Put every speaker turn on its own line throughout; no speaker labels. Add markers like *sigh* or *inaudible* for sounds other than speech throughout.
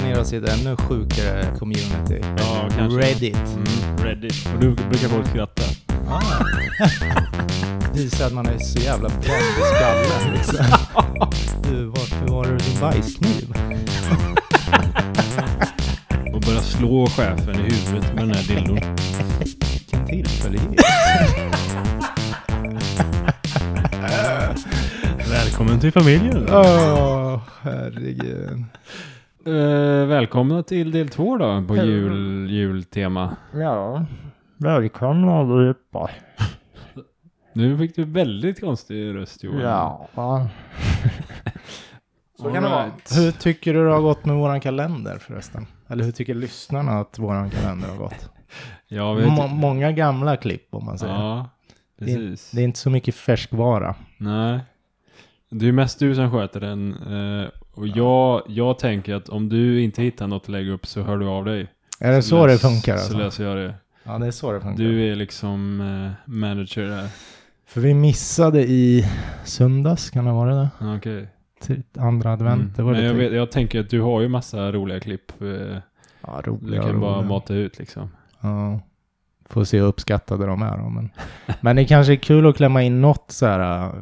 finnas i ett ännu sjukare community.
Ja, kanske.
Reddit.
Mm, Reddit. Och nu brukar folk skratta.
Visa att man är så jävla bränd i skallen. Liksom. Du, vart var du din bajskniv?
Och börjar slå chefen i huvudet med den
*laughs*
här dildon.
Vilken tillfällighet.
Välkommen till familjen.
Åh, herregud.
Eh, välkomna till del två då på
Hej.
jul, jultema.
Ja, välkomna allihopa.
Nu fick du väldigt konstig röst Johan.
Så kan det vara. Hur tycker du det har gått med våran kalender förresten? Eller hur tycker lyssnarna att våran kalender har gått?
Ja, vi
Må- många gamla klipp om man säger.
ja precis.
Det är inte så mycket färskvara.
Nej. Det är mest du som sköter den. eh, Och jag, jag tänker att om du inte hittar något att lägga upp så hör du av dig.
Är det så, det
lös-
funkar
Så
alltså?
löser jag det.
Ja, det är så det funkar.
Du är liksom eh, manager där.
För vi missade i söndags, kan det vara det?
Ja, Okej.
Till andra advent.
Mm.
Det var
Men
lite
jag, vet, jag tänker att du har ju massa roliga klipp. eh,
ja,
Du
roliga.
kan bara
roliga.
mata ut liksom.
Ja. Får se hur uppskattade de är. då, Men, *laughs* men det kanske är kul att klämma in något så här äh,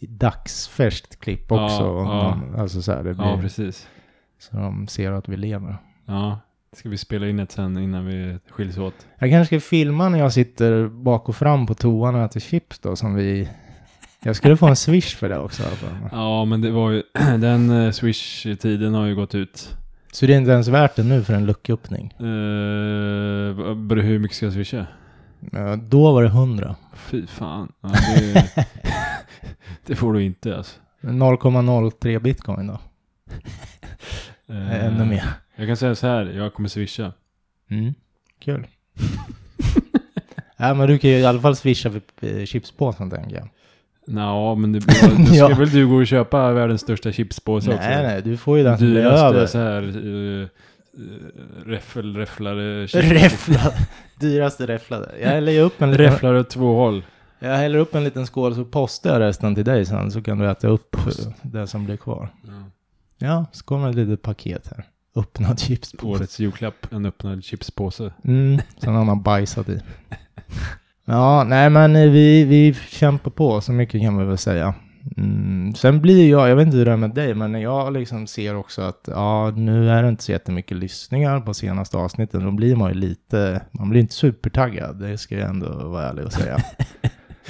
dagsfärskt klipp
Ja,
också. om
ja.
de- Alltså så här, det blir,
Ja, precis.
så de ser att vi lever.
Ja. Ska vi spela in ett sen innan vi skiljs åt?
Jag kanske ska filma när jag sitter bak och fram på toan och äter chips då som vi... Jag skulle få en swish för det också. Alltså.
Ja, men det var ju... *clears throat* den eh, swish-tiden har ju gått ut.
Så det är inte ens värt det nu för en lucköppning.
Eh, vad- hur mycket ska jag swisha?
Ja, Då var det 100.
Fy fan. Ja,
*laughs*
det, det får du inte alltså.
0,03 bitcoin då.
Eh,
Ännu mer.
Jag kan säga så här, jag kommer swisha.
Mm. Kul. *laughs* Nej men du kan ju i alla fall swisha för eh, chipspåsen tänker jag.
Nå, men det,
*laughs*
då ska
Ja.
väl du gå och köpa världens största chipspåse också?
Nej nej, du får ju den som blir
Dyraste
över.
så här uh, räffel, räfflare chips.
Räfflade. *laughs* Dyraste räfflade. Jag häller ju upp en liten,
Räfflare åt två håll.
jag häller upp en liten skål så postar jag resten till dig sen så kan du äta upp eh, det som blir kvar. Ja, så kommer ett litet paket här. Öppnad chipspåse.
Årets julklapp, en öppnad chipspåse.
Mm, sen har man bajsat i. Ja, nej men eh, vi, vi kämpar på, så mycket kan vi väl säga. Mm, sen blir jag, jag vet inte hur det är med dig, men när jag liksom ser också att ja, nu är det inte så jättemycket lyssningar på senaste avsnitten, då blir man ju lite, man blir inte supertaggad, det ska jag ändå vara ärlig och säga. *laughs*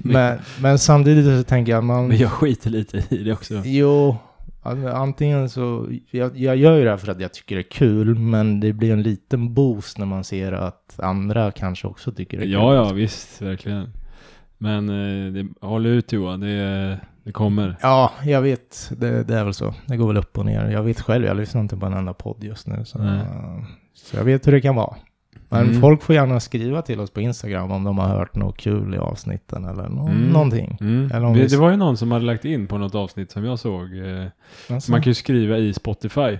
men, men samtidigt så tänker jag, man...
Men jag skiter lite i det också.
Jo, an- antingen så, jag, jag gör ju det här för att jag tycker det är kul, men det blir en liten boost när man ser att andra kanske också tycker det är
Ja,
kul.
ja, visst, verkligen. Men eh, det, håll ut Johan, det, det kommer.
Ja, jag vet, det, det är väl så. Det går väl upp och ner. Jag vet själv, jag lyssnar inte på en enda podd just nu, så,
Nej.
så jag vet hur det kan vara. Men
Mm.
folk får gärna skriva till oss på Instagram om de har hört något kul i avsnitten eller nå-
Mm.
någonting. Eller
Mm.
om
Det,
vi-
det var ju någon som hade lagt in på något avsnitt som jag såg. Eh,
Alltså.
man kan ju skriva i Spotify.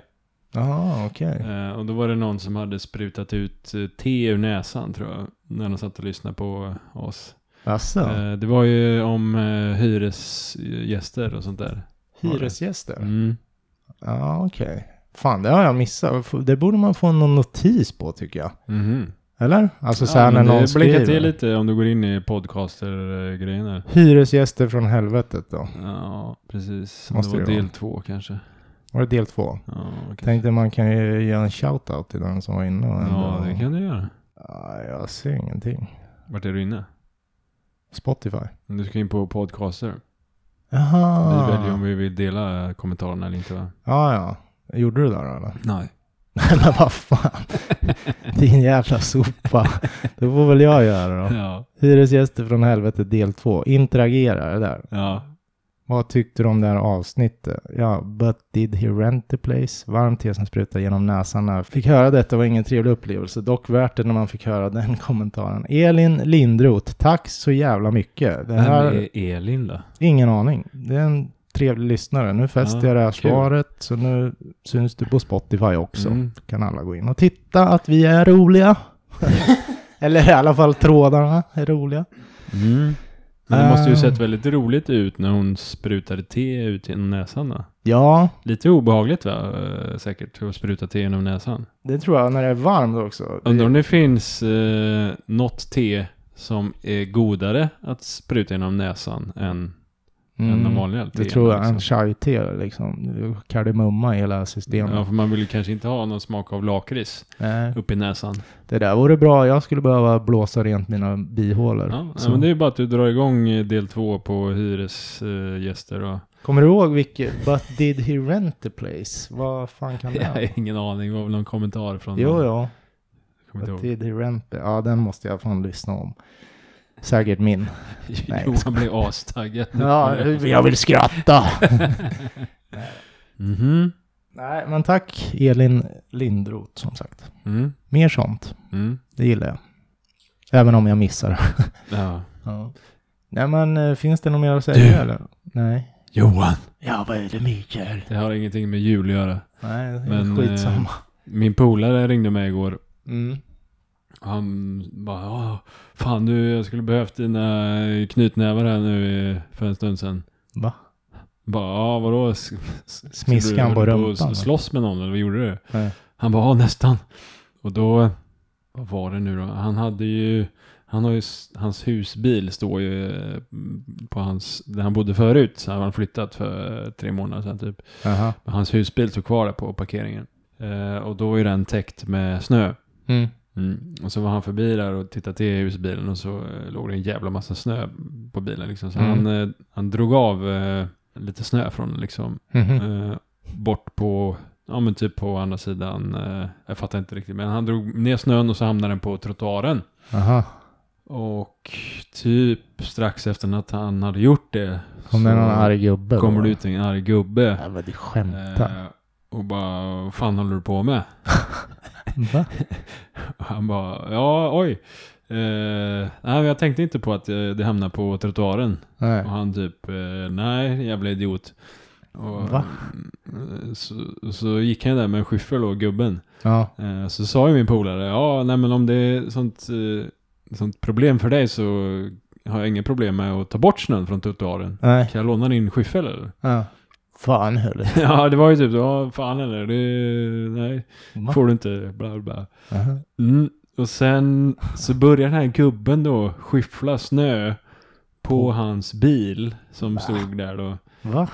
Jaha, okej.
Eh, och då var det någon som hade sprutat ut eh, te ur näsan tror jag. När de satt och lyssnade på oss.
Jaså?
Eh, det var ju om eh, hyresgäster och sånt där.
hyresgäster?
Mm.
Ja, okej. Fan, det har jag missat. F- Det borde man få någon notis på tycker jag.
Mhm.
Eller? Alltså så
Ja,
här när
men
någon
det blinkar
skriver.
till lite om du går in i podcaster-grejen här.
Hyresgäster från helvetet då.
Ja, precis.
Måste
det var
det vara.
del två kanske.
Var det del två?
Ja, okej.
Tänkte man kan ju ge en shout-out till den som var inne. och
ja,
ändå-
det kan du göra.
Ja, jag ser ingenting.
Vart är du inne?
Spotify.
Du ska in på podcaster.
Jaha.
Vi väljer om vi vill dela kommentarerna eller inte va?
Ja, ja. Gjorde du det då eller? *laughs*
Nej.
Nej men vad fan. *laughs* Din jävla sopa. Då får väl jag göra det då.
Ja.
Hyresgäster från helvetet del två. Interagera det där.
ja.
Vad tyckte du om det här avsnittet? Ja, but did he rent the place? Varmt te som sprutar genom näsan. när- Fick höra detta var ingen trevlig upplevelse, dock värt det när man fick höra den *laughs* kommentaren. Elin Lindroth, tack så jävla mycket. Det
Vem
här,
är Elin då?
ingen aning. Det är en trevlig lyssnare. Nu fäster
Ja,
jag det här
kul.
svaret, så nu syns du på Spotify också.
Mm.
Kan alla gå in och titta att vi är
*laughs*
roliga. Eller i alla fall trådarna är roliga.
Mm. Men det måste ju
Eh.
sett väldigt roligt ut när hon sprutade te ut genom näsan då.
Ja,
Lite obehagligt va, eh, säkert, att spruta te genom näsan.
det tror jag när det är varmt också. Det,
Undrar om det finns eh, något te som är godare att spruta genom näsan än, än de vanliga
Mm. det
teerna,
tror jag. En
liksom.
chai-te liksom. Kardemumma i hela systemet.
Ja, för man vill ju kanske inte ha någon smak av lakrits
Nej,
upp i näsan.
det där vore bra. Jag skulle behöva blåsa rent mina bihålor.
Ja,
Så-
ja, men det är ju bara att du drar igång eh, del två på hyresgäster och...
Kommer du ihåg vilket? *laughs* But did he rent the place? Vad fan kan det
*laughs* Jag
vara?
har ingen aning, det var väl någon kommentar från...
Jo,
någon-
ja.
Kommer
But
inte ihåg.
did he rent the... Ja, den måste jag fan lyssna om. Säkert
*laughs*
min. Nej.
Johan blev astaggad. *laughs*
Ja, jag vill skratta.
Mhm.
Nej, men tack Elin Lindroth som sagt.
Mm.
Mer sånt.
Mm.
Det gillar jag. Även om jag missar.
Ja.
Ja. Nej, men eh, finns det något mer att säga?
Du.
Eller? Nej.
Johan!
Ja, vad är det Mikael?
Det har ingenting med jul att göra.
Nej, det är
Men, eh,
skitsamma.
Min polare ringde mig igår
Mm.
och han bara "Åh, Fan du, jag skulle behövt dina knytnävar här nu eh, för en stund sedan.
Va?
Bara, ja vadå? S- s-
Smiskan
skulle du-
på
höll du
rumpan,
att Slåss med någon eller vad gjorde du?
Nej.
Han bara, ja nästan. Och då, vad var det nu då? Han hade ju, han har ju, s- hans husbil står ju eh, på hans, där han bodde förut. Så hade han flyttat för eh, tre månader sedan typ.
Jaha.
Men hans husbil stod kvar där på parkeringen. Eh, och då är den täckt med snö.
Mm.
Mm. Och så var han förbi där och tittade till husbilen och så eh, låg det en jävla massa snö på bilen liksom. Så
Mm.
han, eh, han drog av eh, lite snö från liksom
Mhm.
eh, bort på, ja men typ på andra sidan, eh, jag fattar inte riktigt, men han drog ner snön och så hamnade den på trottoaren.
Aha.
Och typ strax efter att han hade gjort det
Kom
så
det någon arg gubbe?
kommer
då?
det ut en arg gubbe.
Nej, men du skämtar.
Eh, och bara, vad fan håller du på med? *laughs* Eh.
Va?
Och han bara, ja oj. Eh, nej men jag tänkte inte på att eh, det hamnade på trottoaren.
Nej.
Och han typ, eh, nej jävla idiot. Och,
Va?
eh, Så, så gick han där med en skyffel och gubben.
Ja.
Eh, Så sa ju min polare, ja nej men om det är sånt, eh, sånt problem för dig så har jag inga problem med att ta bort snön från trottoaren.
Nej.
Kan jag låna din skyffel eller? *laughs*
Ja. Fan hörru.
ja det var ju typ, ja fan eller, det, nej
Va?
får du inte, bla bla.
Aha.
Mm. Och sen så börjar den här gubben då skyffla snö på
På-
hans bil som stod där då.
Va?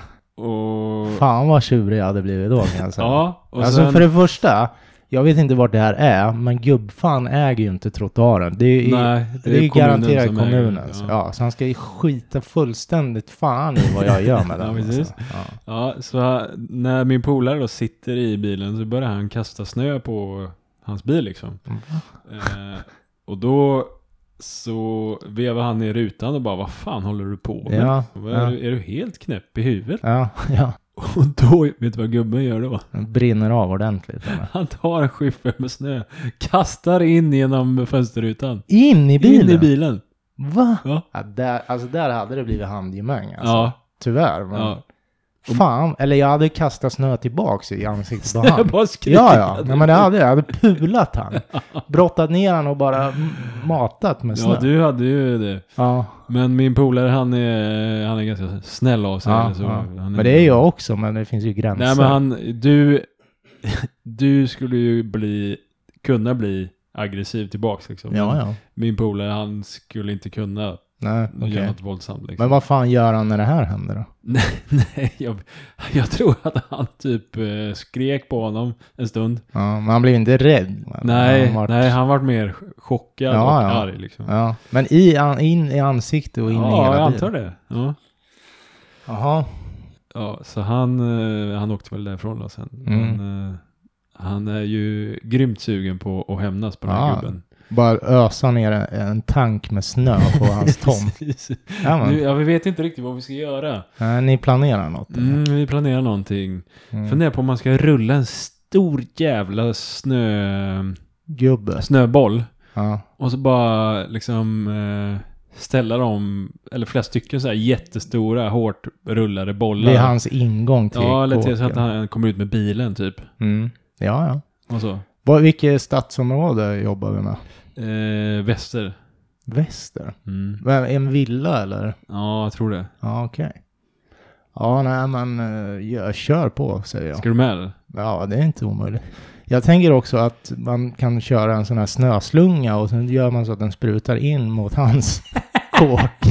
Och,
Fan vad tjurig jag hade blivit då kan jag säga.
ja, och
alltså
sen,
för det första, jag vet inte vart det här är, men gubbfan äger ju inte trottoaren. Det är ju
nej,
det är,
kommunen
garanterat alltså.
som äger den.
kommunens. Ja. så han ska ju skita fullständigt fan i vad jag gör
*laughs*
med den.
Ja, precis.
alltså. Ja.
Ja, så när min polare då sitter i bilen så börjar han kasta snö på hans bil liksom.
Mm.
Eh, och då så vevar han ner rutan och bara vad fan håller du på med?
Ja,
Vad
ja.
Är, du, är du helt knäpp i huvudet? *laughs*
ja, *laughs* ja.
Och då, vet du vad gubben gör då?
Den brinner av ordentligt. eller?
Han tar en skyffel med snö, kastar in genom fönsterrutan.
In i bilen?
In i bilen.
Va?
Ja.
Ja, där, alltså där hade det blivit handgemäng alltså.
Ja,
Tyvärr. Men
ja.
Fan, eller jag hade kastat snö tillbaks i ansiktet på
Jag
han.
bara skriker.
Ja, ja. Nej, men det hade jag. Jag hade
*laughs*
pulat han. Brottat ner han och bara m- matat med snö.
Ja, du hade ju det.
Ja,
Men min polare han är, han är ganska snäll av sig.
ja,
eller så.
ja.
Han
Men det är jag också, men det finns ju gränser.
Nej men han, du, *laughs* du skulle ju bli, kunna bli aggressiv tillbaks liksom.
Ja,
Men
ja.
Min polare han skulle inte kunna
Nej,
göra
okej.
något våldsamt liksom.
Men vad fan gör han när det här händer då?
Nej, nej *laughs* jag, jag tror att han typ eh, skrek på honom en stund.
Ja, men han blev inte rädd. men
Nej,
han vart-
nej han var mer ch- chockad
Ja,
och
ja.
arg liksom.
Ja, men i, an, in i ansiktet och in i
Ja,
hela
jag
bilen.
antar det. Ja.
Jaha.
Ja, så han, eh, han åkte väl därifrån då sen.
Mm.
Men, eh, han är ju grymt sugen på att hämnas på den här
Ja,
gubben.
Bara ösa ner en, en tank med snö
*laughs*
på hans tomt.
Precis.
Ja, men.
nu, ja, vi vet inte riktigt vad vi ska göra.
Nej, ni planerar något? eller?
Mm, vi planerar någonting.
Mm.
Funderar på om man ska rulla en stor jävla snö,
Gubbe.
snöboll.
Ja.
Och så bara liksom eh, ställa dem, eller flera stycken så här jättestora, hårt rullade bollar.
Det är hans ingång till
ja, eller till så
kåken.
att han kommer ut med bilen typ.
Mm. Ja, ja.
Och så.
Vad, vilket stadsområde jobbar vi med?
Eh, väster.
Väster?
Mm.
Men En villa eller?
Ja, jag tror det.
Ja, okej. Ja, nej men eh, jag kör på säger jag.
Ska du med eller?
Ja, det är inte omöjligt. Jag tänker också att man kan köra en sån här snöslunga och sen gör man så att den sprutar in mot
*laughs*
hans kåk.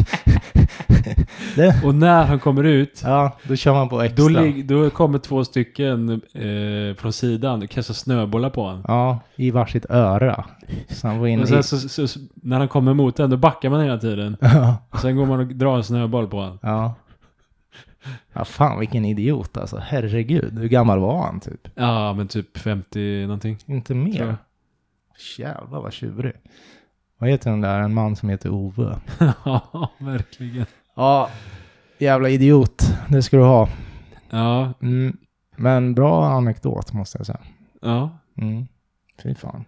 det,
Och när han kommer ut,
ja, då kör man på
då,
extra.
lig- då kommer två stycken eh, från sidan och kastar snöbollar på honom.
Ja, i varsitt öra. Så han var inne
Och
i...
sen så, så, så, när han kommer mot den, då backar man hela tiden.
*laughs* Ja,
Och sen går man och drar en snöboll på honom.
ja. Ja, fan vilken idiot alltså. Herregud, hur gammal var han typ?
Ja, men typ 50 någonting.
Inte
tror jag.
mer. Jävlar vad tjurig. Vad heter den där, en man som heter Ove?
*laughs* ja, verkligen.
Ja, jävla idiot. Det ska du ha.
Ja,
Mm. Men bra anekdot måste jag säga.
ja.
Mm. Fy fan.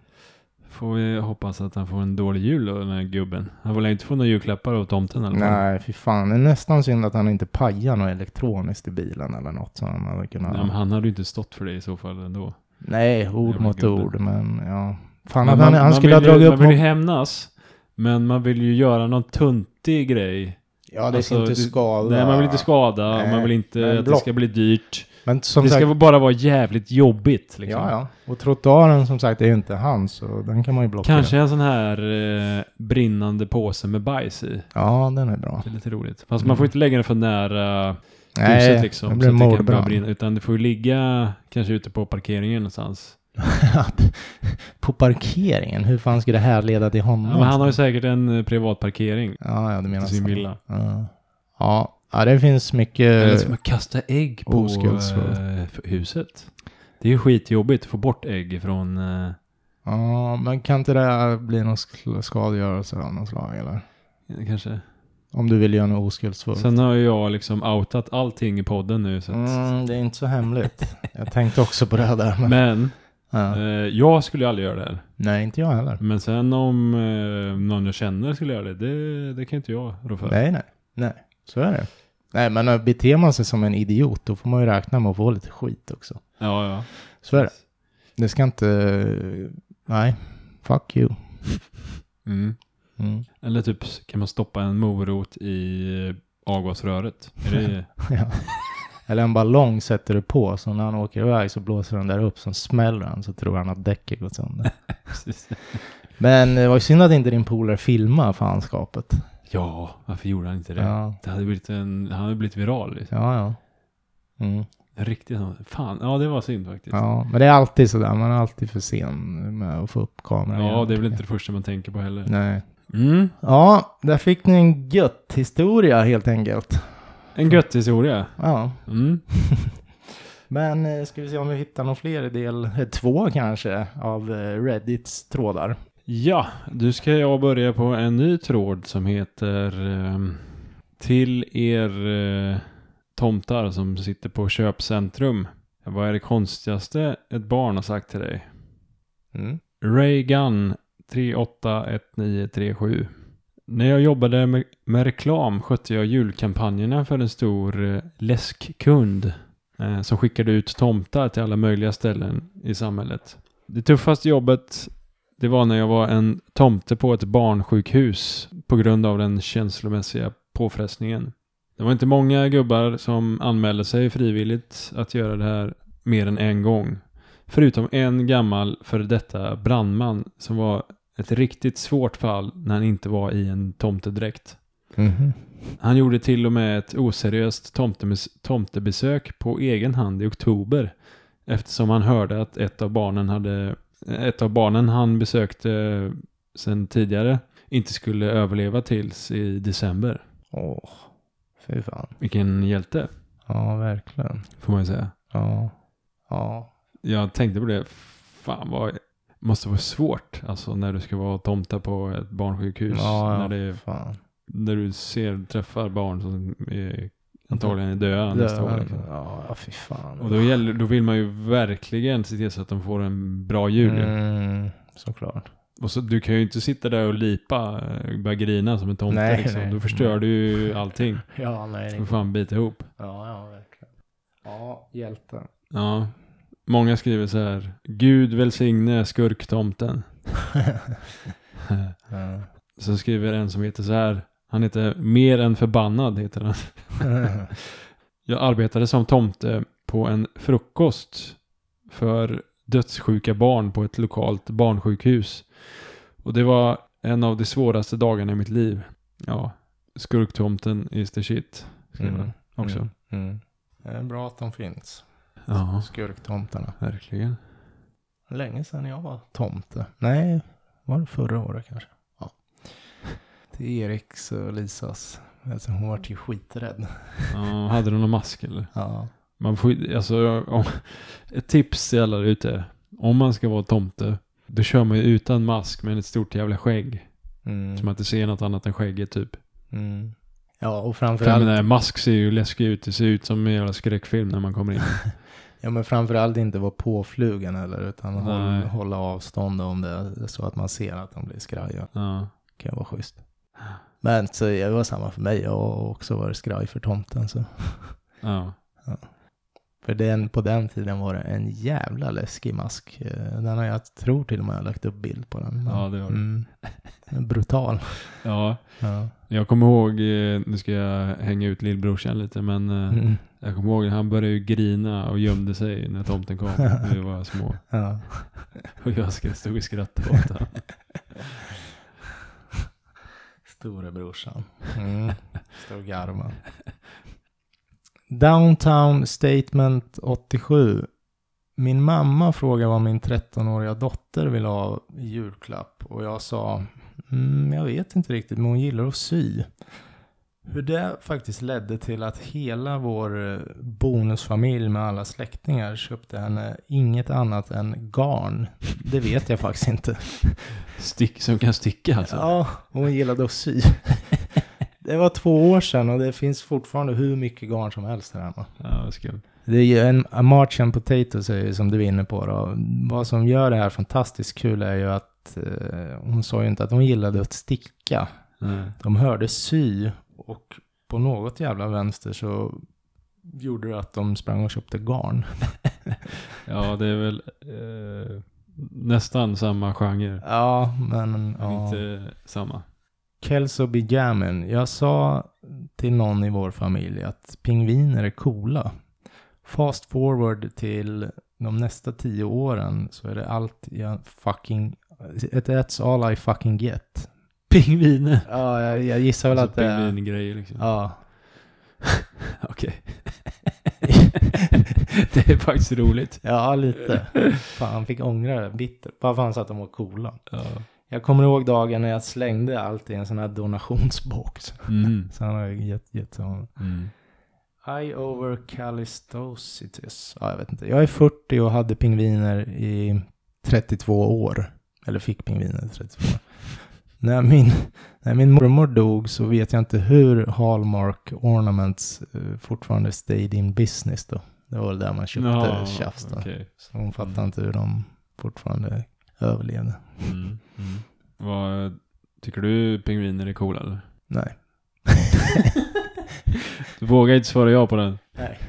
Får vi hoppas att han får en dålig jul då, den här gubben. Han vill inte få några julklappar av tomten eller
Nej, fy fan. Det är nästan synd att han inte pajar något elektroniskt i bilen eller något som han hade
Ja,
kunnat...
men han hade ju inte stått för det i så fall ändå.
Nej, ord
Jävla
mot
gubbe.
ord, men ja. Fan,
Men
att
man-
han, han
man
skulle ha
vill ju-
dragit upp...
Man vill
mot-
ju hämnas. Men man vill ju göra någon tuntig grej.
Ja, det ska
Alltså,
inte
du-
skada.
Nej, man vill inte skada. och
Nej,
man vill
men
inte att det
block.
ska bli dyrt.
Men som
det
sagt,
ska bara vara jävligt jobbigt. Liksom.
ja, ja. Och trottoaren som sagt är ju inte hans, så den kan man ju blockera.
Kanske en sån här eh, brinnande påse med bajs i.
Ja, den är bra.
Det är lite roligt. Fast man får inte lägga den för nära huset
Mm. Nej,
liksom.
det
så
blir
att det kan börja
mordbrand. *laughs*
brinna. Utan det får ju ligga kanske ute på parkeringen någonstans.
På parkeringen, hur fan ska det här leda till honom?
Ja, men han har ju säkert en eh, privat parkering
Ja, ja, du menar
till sin
så.
villa.
Ja. Ja, ja, det finns
Eller
mycket...
ska man kasta ägg på
oskuldsfullt.
eh, för huset? Det är ju skitjobbigt att få bort ägg från... eh,
Ja, men kan inte det här bli någon sk- skadegörelse av något slag eller?
Kanske.
Om du vill göra något oskuldsfullt.
Sen har ju jag liksom outat allting i podden nu. Så att,
Mm, det är inte så
*laughs*
hemligt. jag tänkte också på det här där. Men,
Men
ja.
eh, jag skulle ju aldrig göra det här.
Nej, inte jag heller.
Men sen om eh, någon jag känner skulle göra det, det, det kan inte jag rå för.
Nej, nej. Nej, så är det. Nej, men eh, beter man sig som en idiot då får man ju räkna med att få lite skit också.
Ja, ja.
Så är det. Det ska inte... eh, Nej, fuck you.
Mm.
Mm. *laughs*
Eller typ, kan man stoppa en morot i eh, avgasröret?
*laughs*
Är det,
Ja. Eller en ballong sätter du på, så när han åker iväg så blåser den där upp, så smäller han så tror han att däcket gått sönder.
Precis.
Men det var ju synd att inte din polare filmade fanskapet.
ja, varför gjorde han inte det?
Ja,
Det hade blivit en, han hade blivit viral. Liksom.
ja. ja. Mm.
En riktig sån. Fan, ja det var synd faktiskt. Ja,
Ja, men det är alltid sådär, man är alltid för sen med att få upp kameran. igen.
det är väl inte det första man tänker på heller.
Nej.
Mm.
Ja, där fick ni en gött historia helt enkelt.
En gött historia.
Ja,
Mm.
men eh, ska vi se om vi hittar någon fler i del eh, två kanske av eh, Reddits trådar.
Ja, nu ska jag börja på en ny tråd som heter ehm, Till er eh, tomtar som sitter på köpcentrum. Vad är det konstigaste ett barn har sagt till dig?
Mm.
Raygun 381937. När jag jobbade med, med reklam skötte jag julkampanjerna för en stor eh, läskkund eh, som skickade ut tomtar till alla möjliga ställen i samhället. Det tuffaste jobbet det var när jag var en tomte på ett barnsjukhus på grund av den känslomässiga påfrestningen. Det var inte många gubbar som anmälde sig frivilligt att göra det här mer än en gång. Förutom en gammal före detta brandman som var ett riktigt svårt fall när han inte var i en tomtedräkt.
Mhm.
Han gjorde till och med ett oseriöst tomtemus- tomtebesök på egen hand i oktober eftersom han hörde att ett av barnen, hade, ett av barnen han besökte sen tidigare inte skulle överleva tills i december.
Åh, fy fan.
Vilken hjälte,
Ja, verkligen.
får man ju säga.
Ja. Ja.
Jag tänkte på det. Fan vad måste vara svårt alltså när du ska vara tomta på ett barnsjukhus.
ja,
När, det,
fan.
när du ser, träffar barn som är, antagligen är döda nästa år. Liksom.
Ja, fy fan.
Och då, gäller, då vill man ju verkligen se till så att de får en bra jul.
Mm, såklart.
Och så, du kan ju inte sitta där och lipa, eh, börja grina som en tomte
Nej,
liksom.
nej.
Då förstör du
*laughs*
ju allting.
Ja, nej.
Du får fan bita ihop.
Ja, ja, verkligen. Ja,
*laughs*
hjälte.
Ja. Många skriver så *laughs* här. Gud välsigne skurktomten.
Ja.
Så skriver en som heter så här. Han heter Mer än förbannad heter han. Jag arbetade som tomte på en frukost för dödssjuka barn på ett lokalt barnsjukhus. Och det var en av de svåraste dagarna i mitt liv. Ja, skurktomten is the shit. skriver
Mm.
han *laughs* Också.
Mm. Mm. Det är bra att de finns.
Ja,
Skurktomtarna.
verkligen.
Länge sedan jag var tomte. Nej, var det förra året kanske? Ja. Till Eriks och Lisas. Alltså, hon var ju skiträdd.
Ja, hade du någon mask eller?
Ja.
Man får, ju- alltså, om, ett tips till alla där ute. Om man ska vara tomte, då kör man ju utan mask men ett stort jävla skägg.
Mm.
Så man inte ser något annat än skägget typ.
Mm. Ja, och
För jag
framförallt,
menar, mask ser ju läskig ut. Det ser ut som en jävla skräckfilm när man
*laughs*
kommer in.
ja, men framförallt inte vara påflugen eller utan håll,
Nej.
hålla avstånd om det är så att man ser att de blir skraja.
Ja.
kan ju vara schysst.
Ah.
Men så det var samma för mig, jag har också varit skraj för tomten. Så.
ja.
För den, på den tiden var det en jävla läskig mask. Eh, Den har jag tror till och med jag har lagt upp bild på den.
Ja, det har du.
Mm. Den är
*laughs*
Brutal.
ja.
Ja.
Jag kommer ihåg, eh, nu ska jag hänga ut lillbrorsan lite, men eh,
Mm.
jag kommer ihåg han började ju grina och gömde sig när
*laughs*
tomten kom. när vi var små.
Ja.
Och jag sk- stod och skrattade åt honom.
Storebrorsan. Mm. Står och garvar. Downtown Statement 87. Min mamma frågade vad min 13-åriga dotter ville ha i julklapp och jag sa mm, jag vet inte riktigt men hon gillar att sy. Hur det faktiskt ledde till att hela vår eh, bonusfamilj med alla släktingar köpte henne inget annat än garn. Det vet jag faktiskt inte.
Stick, som kan sticka alltså.
Ja, och hon gillade att *laughs* sy. det var två år sedan och det finns fortfarande hur mycket garn som helst här hemma.
Ja, vad skumt.
Det är ju en a March and Potatoes är ju som du är inne på då. Vad som gör det här fantastiskt kul är ju att eh, hon sa ju inte att hon gillade att sticka.
Nej.
De hörde sy och på något jävla vänster så gjorde det att de sprang och köpte garn.
Ja, det är väl eh, nästan samma genre.
Ja, men...
Men
Ja.
inte samma.
Kelso Bijamin. Jag sa till någon i vår familj att pingviner är coola. Fast forward till de nästa tio åren så är det allt jag fucking... It, that's all I fucking get.
Pingviner.
Ja, jag, jag gissar väl
Alltså
att det är...
pingvingrejer liksom.
Ja. *laughs*
Okej. det är faktiskt roligt.
ja, lite. *laughs* Fan, fick ångra det bittert. Bara för han sa att de var coola.
Ja.
Jag kommer ihåg dagen när jag slängde allt i en sån här donationsbox.
Mm.
Så han har ju gett, gett honom.
Mm.
I over calistositis. Ja, jag vet inte. Jag är 40 och hade pingviner i 32 år. Eller fick pingviner i 32
*laughs*
år. när, min, när min mormor dog så vet jag inte hur Hallmark Ornaments eh, fortfarande stayed in business då. Det var väl där man köpte
Ja,
tjafs då.
okej.
Så hon fattar
Mm.
inte hur de fortfarande överlevde.
Mm. Mm. Vad, tycker du pingviner är coola eller?
*laughs*
*laughs*
Nej.
Du vågar inte svara ja på den.
Nej.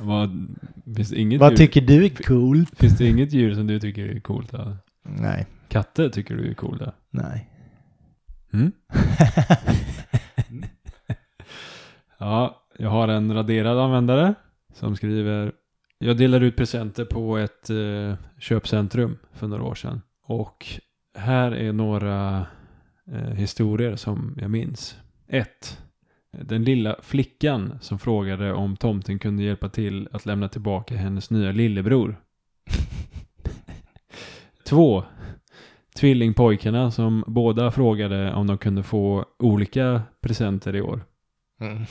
Vad, finns, det
*laughs*
inget
Vad
djur,
tycker du är coolt?
finns det inget djur som du tycker är coolt? Eller?
Nej.
Katter tycker du är coola?
Nej.
Mm? Ja, jag har en raderad användare som skriver Jag delade ut presenter på ett eh, köpcentrum för några år sedan. Och här är några eh, historier som jag minns. 1. Den lilla flickan som frågade om tomten kunde hjälpa till att lämna tillbaka hennes nya lillebror. 2. Tvillingpojkarna som båda frågade om de kunde få olika presenter i år.
Mm.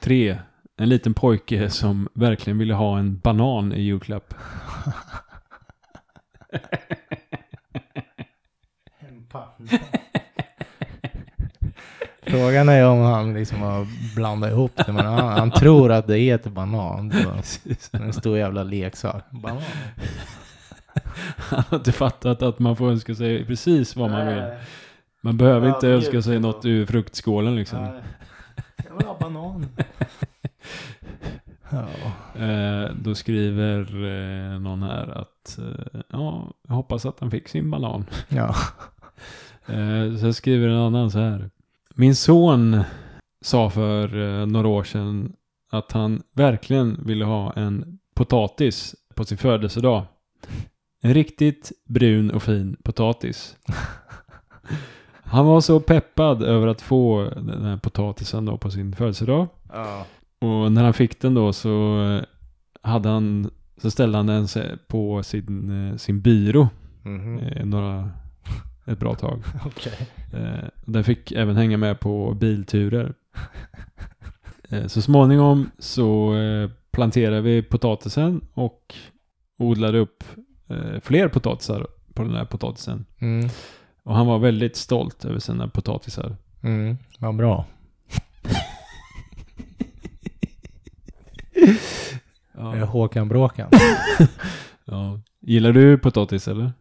3. En liten pojke som verkligen ville ha en banan i julklapp. *laughs*
*laughs* Frågan är om han liksom har blandat ihop det, men han, han tror att det är ett banan. Det var en stor jävla leksak. *laughs* Banan?
Han har inte fattat att man får önska sig precis vad man vill. Man behöver
Ja,
inte
det är
önska sig
ju-
något ur fruktskålen liksom.
Jag vill ha banan. Ja.
Eh, då skriver eh, någon här att att eh, ja, jag hoppas att han fick sin banan.
Ja.
Eh, Sen skriver en annan så här. Min son sa för eh, några år sedan att han verkligen ville ha en potatis på sin födelsedag. En riktigt brun och fin potatis. Han var så peppad över att få den här potatisen då på sin födelsedag.
Ja.
Och när han fick den då så eh, hade han så ställde han den sig på sin, eh, sin byrå
Mhm.
eh, några, ett bra tag.
Okej.
Eh, den fick även hänga med på bilturer. Eh, så småningom så eh, planterade vi potatisen och odlade upp eh, fler potatisar på den här potatisen.
Mm.
Och han var väldigt stolt över sina potatisar.
Mm. Vad bra. Är det
Ja.
Håkan Bråkan?
Ja. Gillar du potatis eller?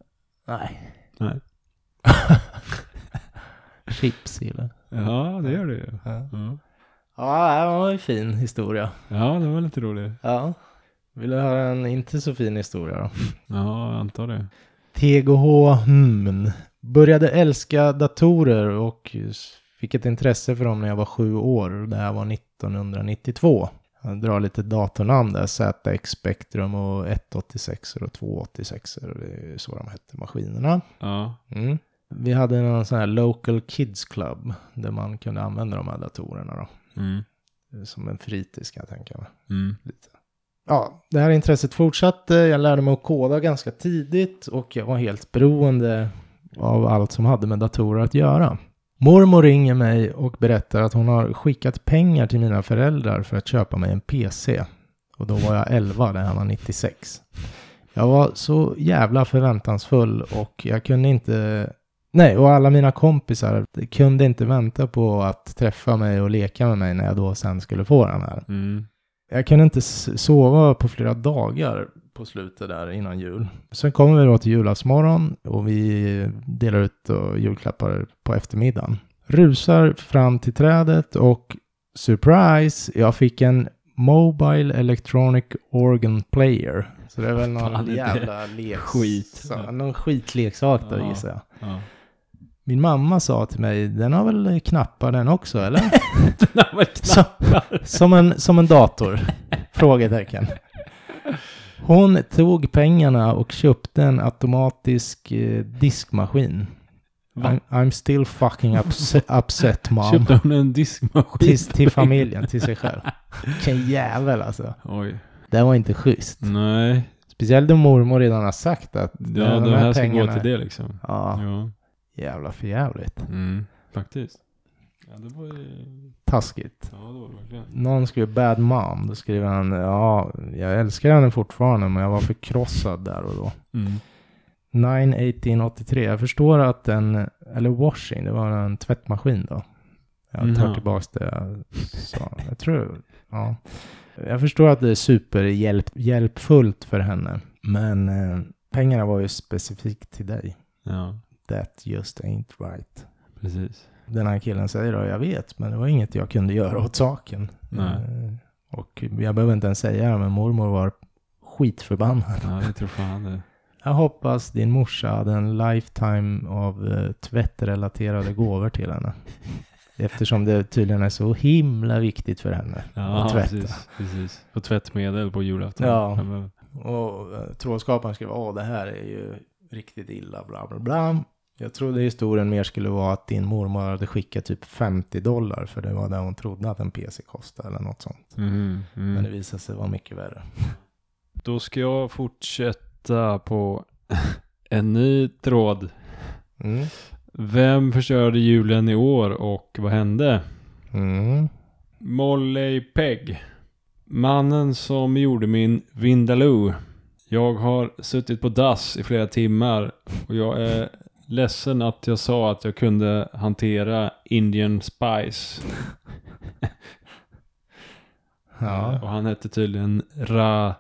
Nej.
Nej.
*laughs* Chips gillar
Ja, det gör du ju.
Ja,
Ja,
ja det var en fin historia.
ja det var lite roligt.
Ja. Vill du höra en inte så fin historia då?
Ja, jag antar det.
TGH Hymn. Började älska datorer och fick ett intresse för dem när jag var sju år. Det här var 1992. Jag drar lite datornamn där. ZX Spectrum och 186 och 286 och det är så de hette maskinerna.
Ja,
Mm. Vi hade någon sån här Local Kids Club där man kunde använda de här datorerna då.
mm.
Som en fritids kan jag tänka mig
Mm.
ja, det här intresset fortsatte. Jag lärde mig att koda ganska tidigt och jag var helt beroende av allt som hade med datorer att göra. Mormor ringer mig och berättar att hon har skickat pengar till mina föräldrar för att köpa mig en PC. Och då var jag 11, det här var 96. Jag var så jävla förväntansfull och jag kunde inte... Nej, och alla mina kompisar kunde inte vänta på att träffa mig och leka med mig när jag då sen skulle få den här.
Mm.
Jag kunde inte s- sova på flera dagar på slutet där innan jul. Sen kommer vi då till julaftsmorgon och vi delar ut då julklappar på eftermiddagen. Rusar fram till trädet och surprise, jag fick en Mobile Electronic Organ Player. Så det är väl någon
Fan, det är
jävla
*laughs*
leks...
skit.
sa- Någon skitleksak då
Ja.
gissar jag.
Ja. *laughs*
Min mamma sa till mig, den har väl knappar den också eller? Så, *laughs* som, en, som en dator? Frågetecken. Hon tog pengarna och köpte en automatisk eh, diskmaskin.
Va?
I'm, I'm still fucking upset, upset mom.
Köpte hon en diskmaskin?
Till, till familjen, till sig själv. Vilken jävel alltså.
Oj.
Det var inte schysst.
Nej,
Speciellt då mormor redan har sagt att
ja,
eh,
det här ska gå till det liksom.
Ja,
Ja,
jävla förjävligt.
mm. faktiskt. Ja, det var ju...
Taskigt.
Ja, det var det verkligen.
Någon skrev bad mom. Då skriver han ja, jag älskar henne fortfarande men jag var förkrossad där och då.
Mm.
9-1883. Jag förstår att den, eller washing, det var en tvättmaskin då. Jag tar
Mhm.
tillbaks det jag sa. Jag tror, ja. Jag förstår att det är superhjälpfullt för henne. Men eh, pengarna var ju specifikt till dig.
Ja,
That just ain't right.
precis.
Den här killen säger då, jag vet, men det var inget jag kunde göra åt saken.
Nej.
Eh, Och jag behöver inte ens säga det, men mormor var skitförbannad.
Ja, det tror fan det.
Jag hoppas din morsa hade en lifetime av eh, tvättrelaterade gåvor till
*laughs*
henne. Eftersom det tydligen är så himla viktigt för henne
Ja,
att tvätta.
precis. precis. Och tvättmedel på julafton.
Ja.
men-
Och eh, trådskaparen skrev, åh det här är ju riktigt illa, bla bla bla. Jag trodde historien mer skulle vara att din mormor hade skickat typ 50 dollar, för det var det hon trodde att en PC kostade eller något sånt.
Mhm, mm.
Men det visade sig vara mycket värre.
Då ska jag fortsätta på *laughs* en ny tråd.
Mm.
Vem förstörde julen i år och vad hände?
Mm.
Molly Pegg. Mannen som gjorde min Vindaloo. Jag har suttit på dass i flera timmar och jag är ledsen att jag sa att jag kunde hantera Indian Spice.
Ja.
Och han hette tydligen Ra...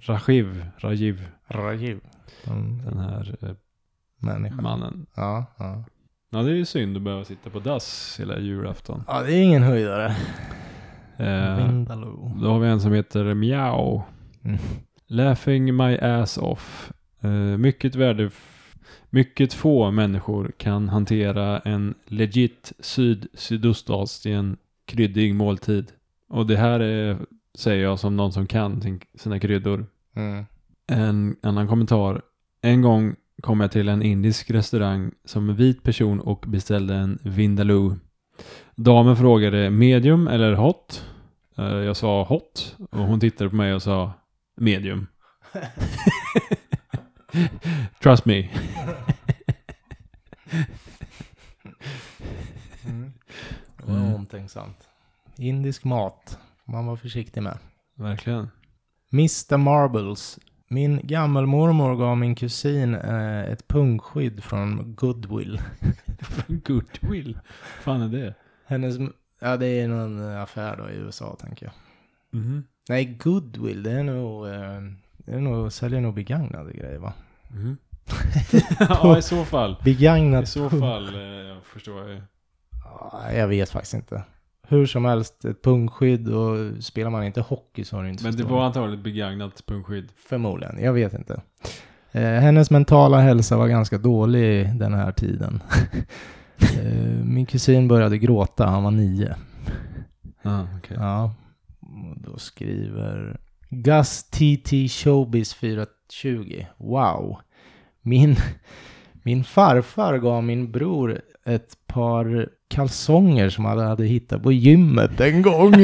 Rajiv. Rajiv.
Rajiv. Mm.
Den här eh,
Människa.
mannen.
Ja, ja.
Ja, det är ju synd att behöva sitta på dass hela julafton.
ja, det är ingen höjdare.
Eh,
Vindaloo.
då har vi en som heter Miao.
Mm.
Laughing my ass off. Eh, mycket värde... Mycket få människor kan hantera en legit syd-sydostasien kryddig måltid. Och det här är, säger jag som någon som kan sin, sina kryddor.
*laughs* Mm.
En annan kommentar. En gång kom jag till en indisk restaurang som en vit person och beställde en Vindaloo. Damen frågade medium eller hot. Eh, Jag sa hot och hon tittade på mig och sa medium. Trust me.
Mm. Det var
Mm.
omtänksamt. Indisk mat. Man var försiktig med.
*laughs* Verkligen.
Mr Marbles. Min gammelmormor gav min kusin eh, ett pungskydd från Goodwill.
Goodwill. fan är det?
Hennes, ja det är någon affär då i USA tänker jag.
Mhm.
Nej, Goodwill, det är nog, eh, det är nog säljer nog begagnade grejer va?
Mhm. *laughs* ja, i så fall. I
Begagnat
så
pung-
fall eh, förstår jag ju.
Ja, jag vet faktiskt inte. Hur som helst, ett pungskydd och spelar man inte hockey så har du inte så
Men det
stor-
var antagligen begagnat punktskydd.
Förmodligen, jag vet inte. Eh, hennes mentala hälsa var ganska dålig den här tiden. *laughs* eh, min kusin började gråta, han var nio.
Ah, okej.
Ja, och då skriver Gus TT Showbiz 420. Wow. Min, *laughs* min farfar gav min bror ett par kalsonger som han hade hittat på gymmet en gång.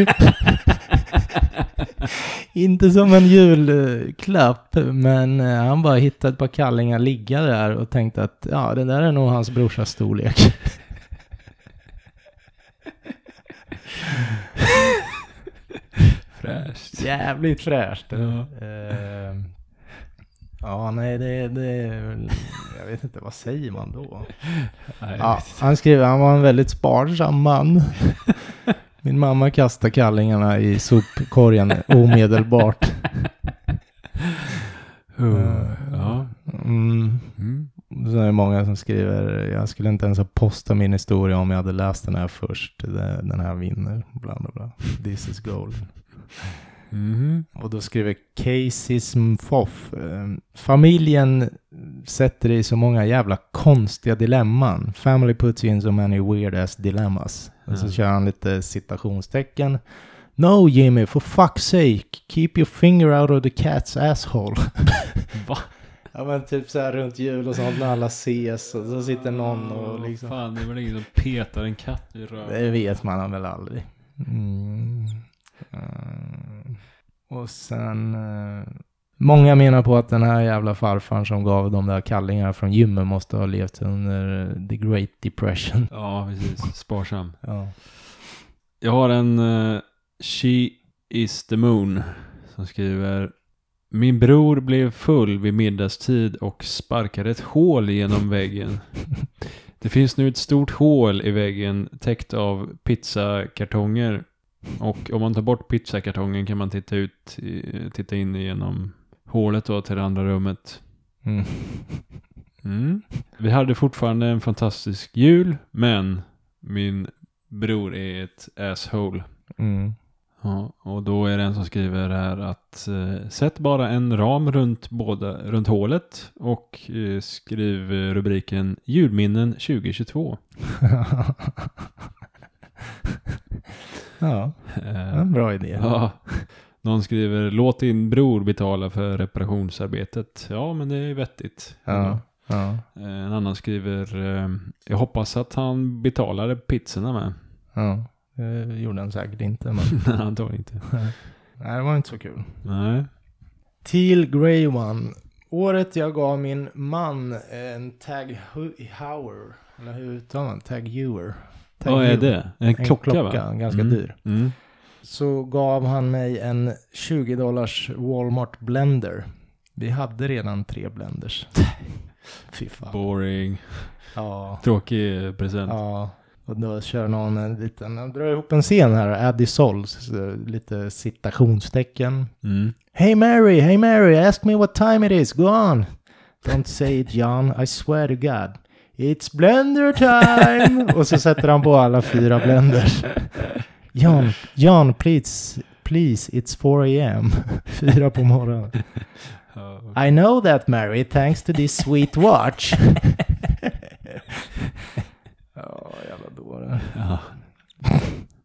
*laughs* Inte som en julklapp, men eh, han bara hittade ett par kallingar ligga där och tänkte att ja, det där är nog hans brorsas storlek. *laughs*
Fräscht.
Jävligt fräscht.
Ja.
Eh, ja, nej, det, det är väl- Jag vet inte, vad säger man då?
Nej,
Ja, han skriver, han var en väldigt sparsam man. Min mamma kastade kallingarna i sopkorgen omedelbart.
Uh, ja.
Mm.
Mm.
Sen är det många som skriver, jag skulle inte ens ha postat min historia om jag hade läst den här först. Det- Den här vinner, bla bla bla. This is gold.
Mhm.
Och då skriver Casey Smfoff. Familjen sätter dig i så många jävla konstiga dilemman. Family puts you in so many weird ass dilemmas. Och så
Mm.
kör han lite citationstecken. No Jimmy, for fuck's sake, keep your finger out of the cat's asshole.
Va?
ja men typ så här runt jul och sånt när alla ses och så sitter någon och liksom.
Ah, Fan, det är väl ingen som petar en katt i röven.
Det vet man väl aldrig. Mm. Eh, Och sen... eh, Många menar på att den här jävla farfarn som gav de där kallingarna från gymmet måste ha levt under eh, the great depression.
Ja, precis. Sparsam.
Ja.
Jag har en eh, She is the moon som skriver Min bror blev full vid middagstid och sparkade ett hål genom väggen. Det finns nu ett stort hål i väggen täckt av pizzakartonger. Och om man tar bort pizzakartongen kan man titta ut, eh, titta in genom hålet då till det andra rummet.
*laughs* Mm.
Mm. Vi hade fortfarande en fantastisk jul, men min bror är ett asshole.
Mm. *laughs*
Ja, och då är det en som skriver här att eh, sätt bara en ram runt, båda, runt hålet och eh, skriv eh, rubriken julminnen 2022.
ja, det var
Eh,
en bra idé.
ja. Någon skriver låt din bror betala för reparationsarbetet. Ja, men det är ju vettigt.
Ja. Ja.
Eh, En annan skriver eh, jag hoppas att han betalade pizzorna med. *laughs*
ja. Det gjorde han säkert inte, men
Nej, antagligen inte.
nej, det var inte så kul.
Nej.
Teal Grey One. Året jag gav min man en Tag Hu- Heuer. Eller hur uttalar man? Tag Heuer. Tag
Vad är
Heuer.
det? En,
En
klocka,
klocka,
va?
ganska
Mm.
dyr.
Mm.
Så gav han mig en 20 dollars Walmart blender. Vi hade redan tre
*laughs*
blenders. Fy fan.
Boring.
Ja.
Tråkig present.
Ja. Och då kör någon en liten, jag drar ihop en scen här, Addy Sols, så lite citationstecken.
Mm.
Hey Mary, hey Mary, ask me what time it is. Go on. Don't say it John, I swear to God. It's blender time! Och så sätter han på alla fyra blenders. John, John, please, please, it's 4 am. Fyra på morgonen.
Ja,
I know that Mary, thanks to this sweet watch. ja, jävla dåre.
Ja.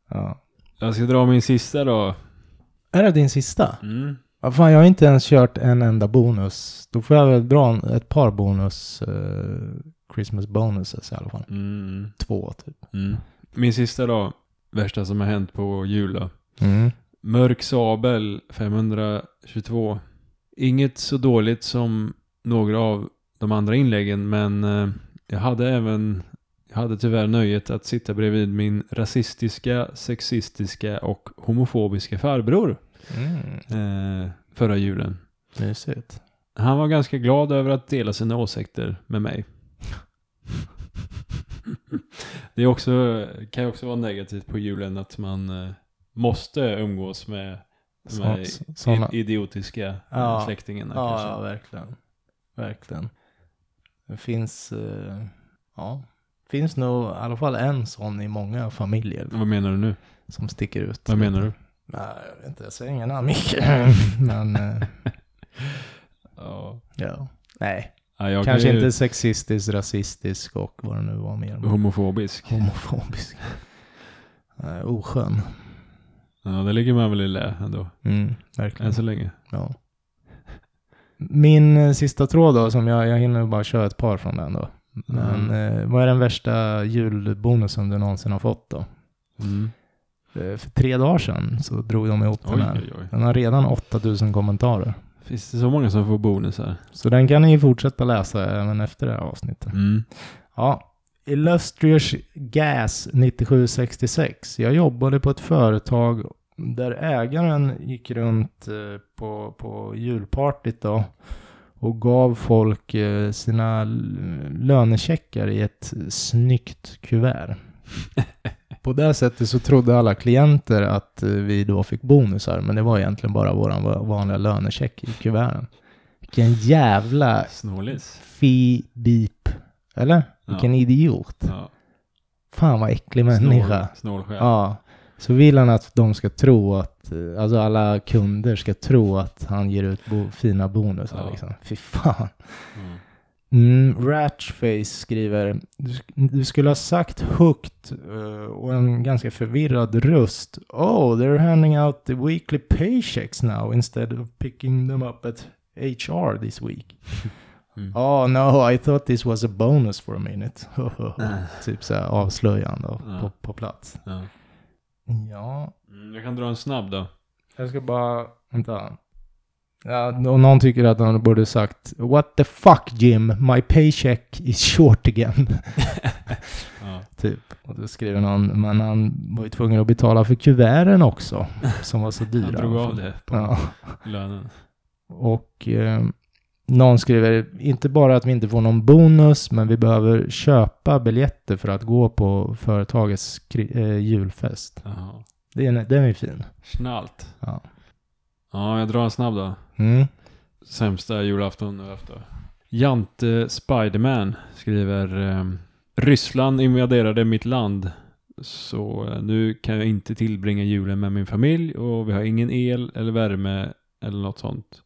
Ja.
Jag ska dra min sista då.
Är det din sista?
Mm.
Ja, fan, jag har inte ens kört en enda bonus. Då får jag väl dra en, ett par bonus, eh, Christmas bonuses i alla fall.
Mm.
Två typ.
Mm. Min sista då. Värsta som har hänt på jul då.
Mm.
Mörk sabel 522. Inget så dåligt som några av de andra inläggen men eh, jag hade även jag hade tyvärr nöjet att sitta bredvid min rasistiska, sexistiska och homofobiska farbror
Mm.
eh, förra julen.
Mysigt.
Han var ganska glad över att dela sina åsikter
*laughs*
med mig. Det är också, kan ju också vara negativt på julen att man eh, måste umgås med de
Så-
här
så- såna-
i- idiotiska eh,
Ja.
släktingarna.
Ja,
kanske.
ja, verkligen. Verkligen. Det finns, eh, ja, finns nog i alla fall en sån i många familjer
Vad menar du nu?
som sticker ut.
Vad menar du?
Nej, jag vet inte, jag säger ingen namn
*laughs*
Micke. Men, eh,
Ja.
ja. Nej,
Ja, jag
kanske
kan ju-
inte sexistisk, rasistisk och vad det nu var mer.
Homofobisk.
Homofobisk. Nej, oskön.
Ja, det ligger man väl i lä ändå.
Mm,
Än
verkligen.
så länge.
Ja. Min eh, sista tråd då, som jag, jag hinner bara köra ett par från den då. Men eh, vad är den värsta julbonusen du någonsin har fått då?
Mm.
Eh, För tre dagar sedan så drog de ihop den
Oj,
här.
oj, oj.
Den har redan 8000 kommentarer.
Finns det så många som får bonusar?
Så den kan ni ju fortsätta läsa även efter det här avsnittet.
Mm.
Ja. Illustrious Gas 9766. Jag jobbade på ett företag där ägaren gick runt eh, på, på julpartyt då och gav folk eh, sina l- lönecheckar i ett snyggt kuvert. På det sättet så trodde alla klienter att eh, vi då fick bonusar, men det var egentligen bara vår vanliga lönecheck i kuverten. Vilken jävla
Snålis.
Fi beep. Eller?
Ja.
Vilken idiot.
Ja.
Fan vad äcklig människa.
Snål, snålsjäl.
Ja. Så vill han att de ska tro att, eh, alltså alla kunder ska tro att han ger ut bo- fina bonusar
Ja.
liksom. Fy fan.
Mm.
Mm, Ratchface skriver, du, sk- du skulle ha sagt högt eh, och en ganska förvirrad röst. Oh, they're handing out the weekly paychecks now instead of picking them up at HR this week.
Mm.
Oh no, I thought this was a bonus for a minute. *laughs*
Mm.
typ så här avslöjande och
Ja.
på, på plats.
Ja.
Ja,
Mm, Jag kan dra en snabb då.
jag ska bara, vänta. Ja, och någon tycker att han borde sagt What the fuck Jim, my paycheck is short again. *laughs*
Ja.
typ. Och då skriver någon, men han var ju tvungen att betala för kuverten också. Som var så dyra.
Han drog av det på
Ja.
lönen.
Och eh, någon skriver, inte bara att vi inte får någon bonus, men vi behöver köpa biljetter för att gå på företagets kri- eh, julfest.
Jaha.
Den, är- den är fin.
Snällt.
Ja.
Ja, jag drar en snabb då.
Mm.
Sämsta julafton nu efter. Jante Spiderman skriver ehm, Ryssland invaderade mitt land. Så eh, nu kan jag inte tillbringa julen med min familj och vi har ingen el eller värme eller något sånt.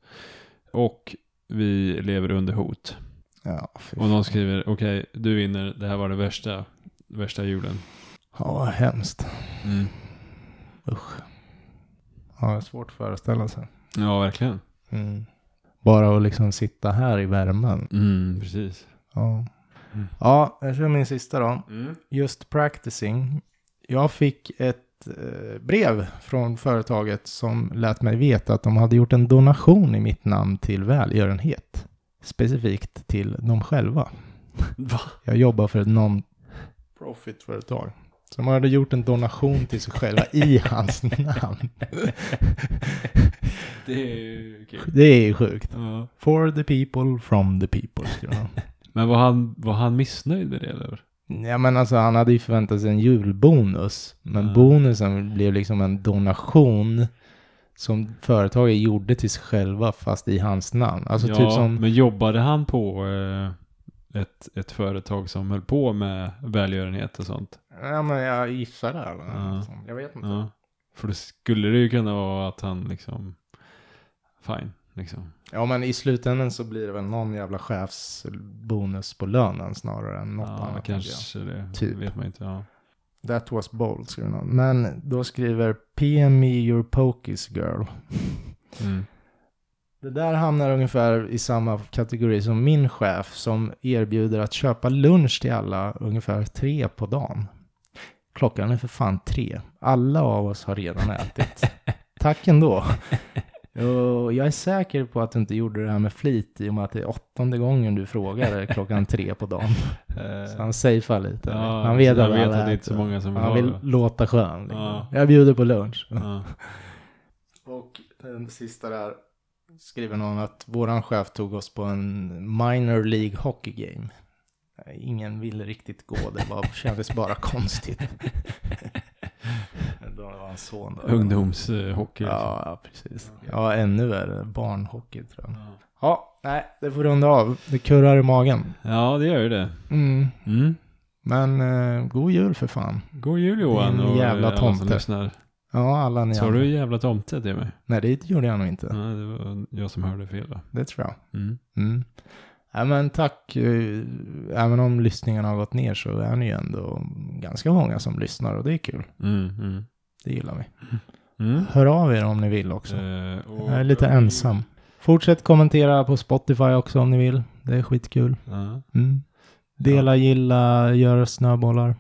Och vi lever under hot.
Ja, fy
Och någon
fan.
skriver okej, du vinner. Det här var det värsta, värsta julen.
Ja, vad hemskt.
Mm.
Ja, det är svårt att föreställa sig.
Ja, verkligen.
Mm. Bara att liksom sitta här i värmen.
Mm, precis.
Ja.
Mm.
ja, jag kör min sista då. Just practicing. Jag fick ett eh, brev från företaget som lät mig veta att de hade gjort en donation i mitt namn till välgörenhet. Specifikt till dem själva.
*laughs* Va?
Jag jobbar för ett non-profit-företag. Som hade gjort en donation till sig själva i hans namn.
Det är ju kul.
Det är ju sjukt.
Ja.
For the people, from the people, skriver han.
Men var han, var han missnöjd med det eller?
Ja men alltså han hade ju förväntat sig en julbonus. Men
Ja.
bonusen blev liksom en donation som företaget gjorde till sig själva fast i hans namn. Alltså
ja,
typ som,
men jobbade han på eh, ett, ett företag som höll på med välgörenhet och sånt?
ja men jag gissar det. Eller
Ja.
något sånt. Jag vet inte.
Ja. För då skulle det ju kunna vara att han liksom, fine, Liksom.
Ja, men i slutändan så blir det väl någon jävla chefsbonus på lönen snarare än något
Ja,
annat. tänker
kanske det.
Typ.
Vet man inte. Ja.
jag. That was bold, skriver någon. Men då skriver PM me your pokies girl.
Mm.
Det där hamnar ungefär i samma kategori som min chef som erbjuder att köpa lunch till alla ungefär tre på dagen. Klockan är för fan tre. Alla av oss har redan ätit.
*laughs*
Tack ändå. Och jag är säker på att du inte gjorde det här med flit i och med att det är åttonde gången du frågar klockan tre på
*laughs*
dagen. Så
Eh,
han safear lite.
ja,
han vet,
så
att,
jag vet
alla
att det är inte så
äter.
många som vill
Han
ha
vill
det.
låta skön. Liksom.
Ja.
Jag bjuder på lunch. *laughs*
Ja.
Och den sista där skriver någon att våran chef tog oss på en minor League hockey game. Nej, Ingen ville riktigt gå, det var, kändes bara
*laughs*
konstigt. då var hans son då.
Ungdomshockey. liksom.
Ja, ja, precis. Ja, ännu värre. Barnhockey tror jag.
Ja.
Ja, nej, det får runda av. Det kurrar i magen.
ja, det gör ju det.
Mm.
Mm.
Men eh, god jul för fan.
God jul Johan
Din
och
jävla
alla som
tomte.
lyssnar.
Ja, alla ni
Sa
andra.
du Mm. jävla tomte till mig?
Nej, det gjorde jag nog inte.
Nej, det var jag som hörde fel då.
Det tror jag.
Mm.
Mm. Ja, men tack. eh, Även om lyssningarna har gått ner så är ni ju ändå ganska många som lyssnar och det är kul.
Mm, mm.
Det gillar vi.
Mm.
Hör av er om ni vill också.
Eh, och-
Jag är lite ensam. Fortsätt kommentera på Spotify också om ni vill. Det är skitkul.
Ja.
Mm. Dela, gilla, gör snöbollar.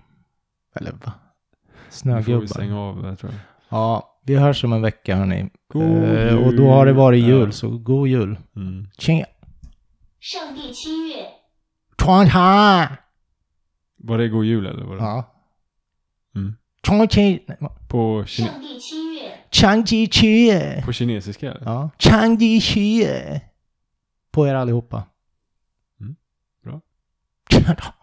Eller va?
Nu får vi
Snögubbar.
stänga av det tror jag.
Ja, vi hörs om en vecka hörni.
God
Eh, och då har det varit
jul.
jul, så god jul.
Mm.
Tjing!
上帝七月，
Tjong tjong!
Var det god jul eller? Var det?
Ja. 嗯
Mm.
Tjong tjing! Nej, va?
På, kine-
上帝七月，
Changji Chie.
på kinesiska eller?
Ja. Changji Chie. På er allihopa. *laughs*
Mm, bra.
Tja då.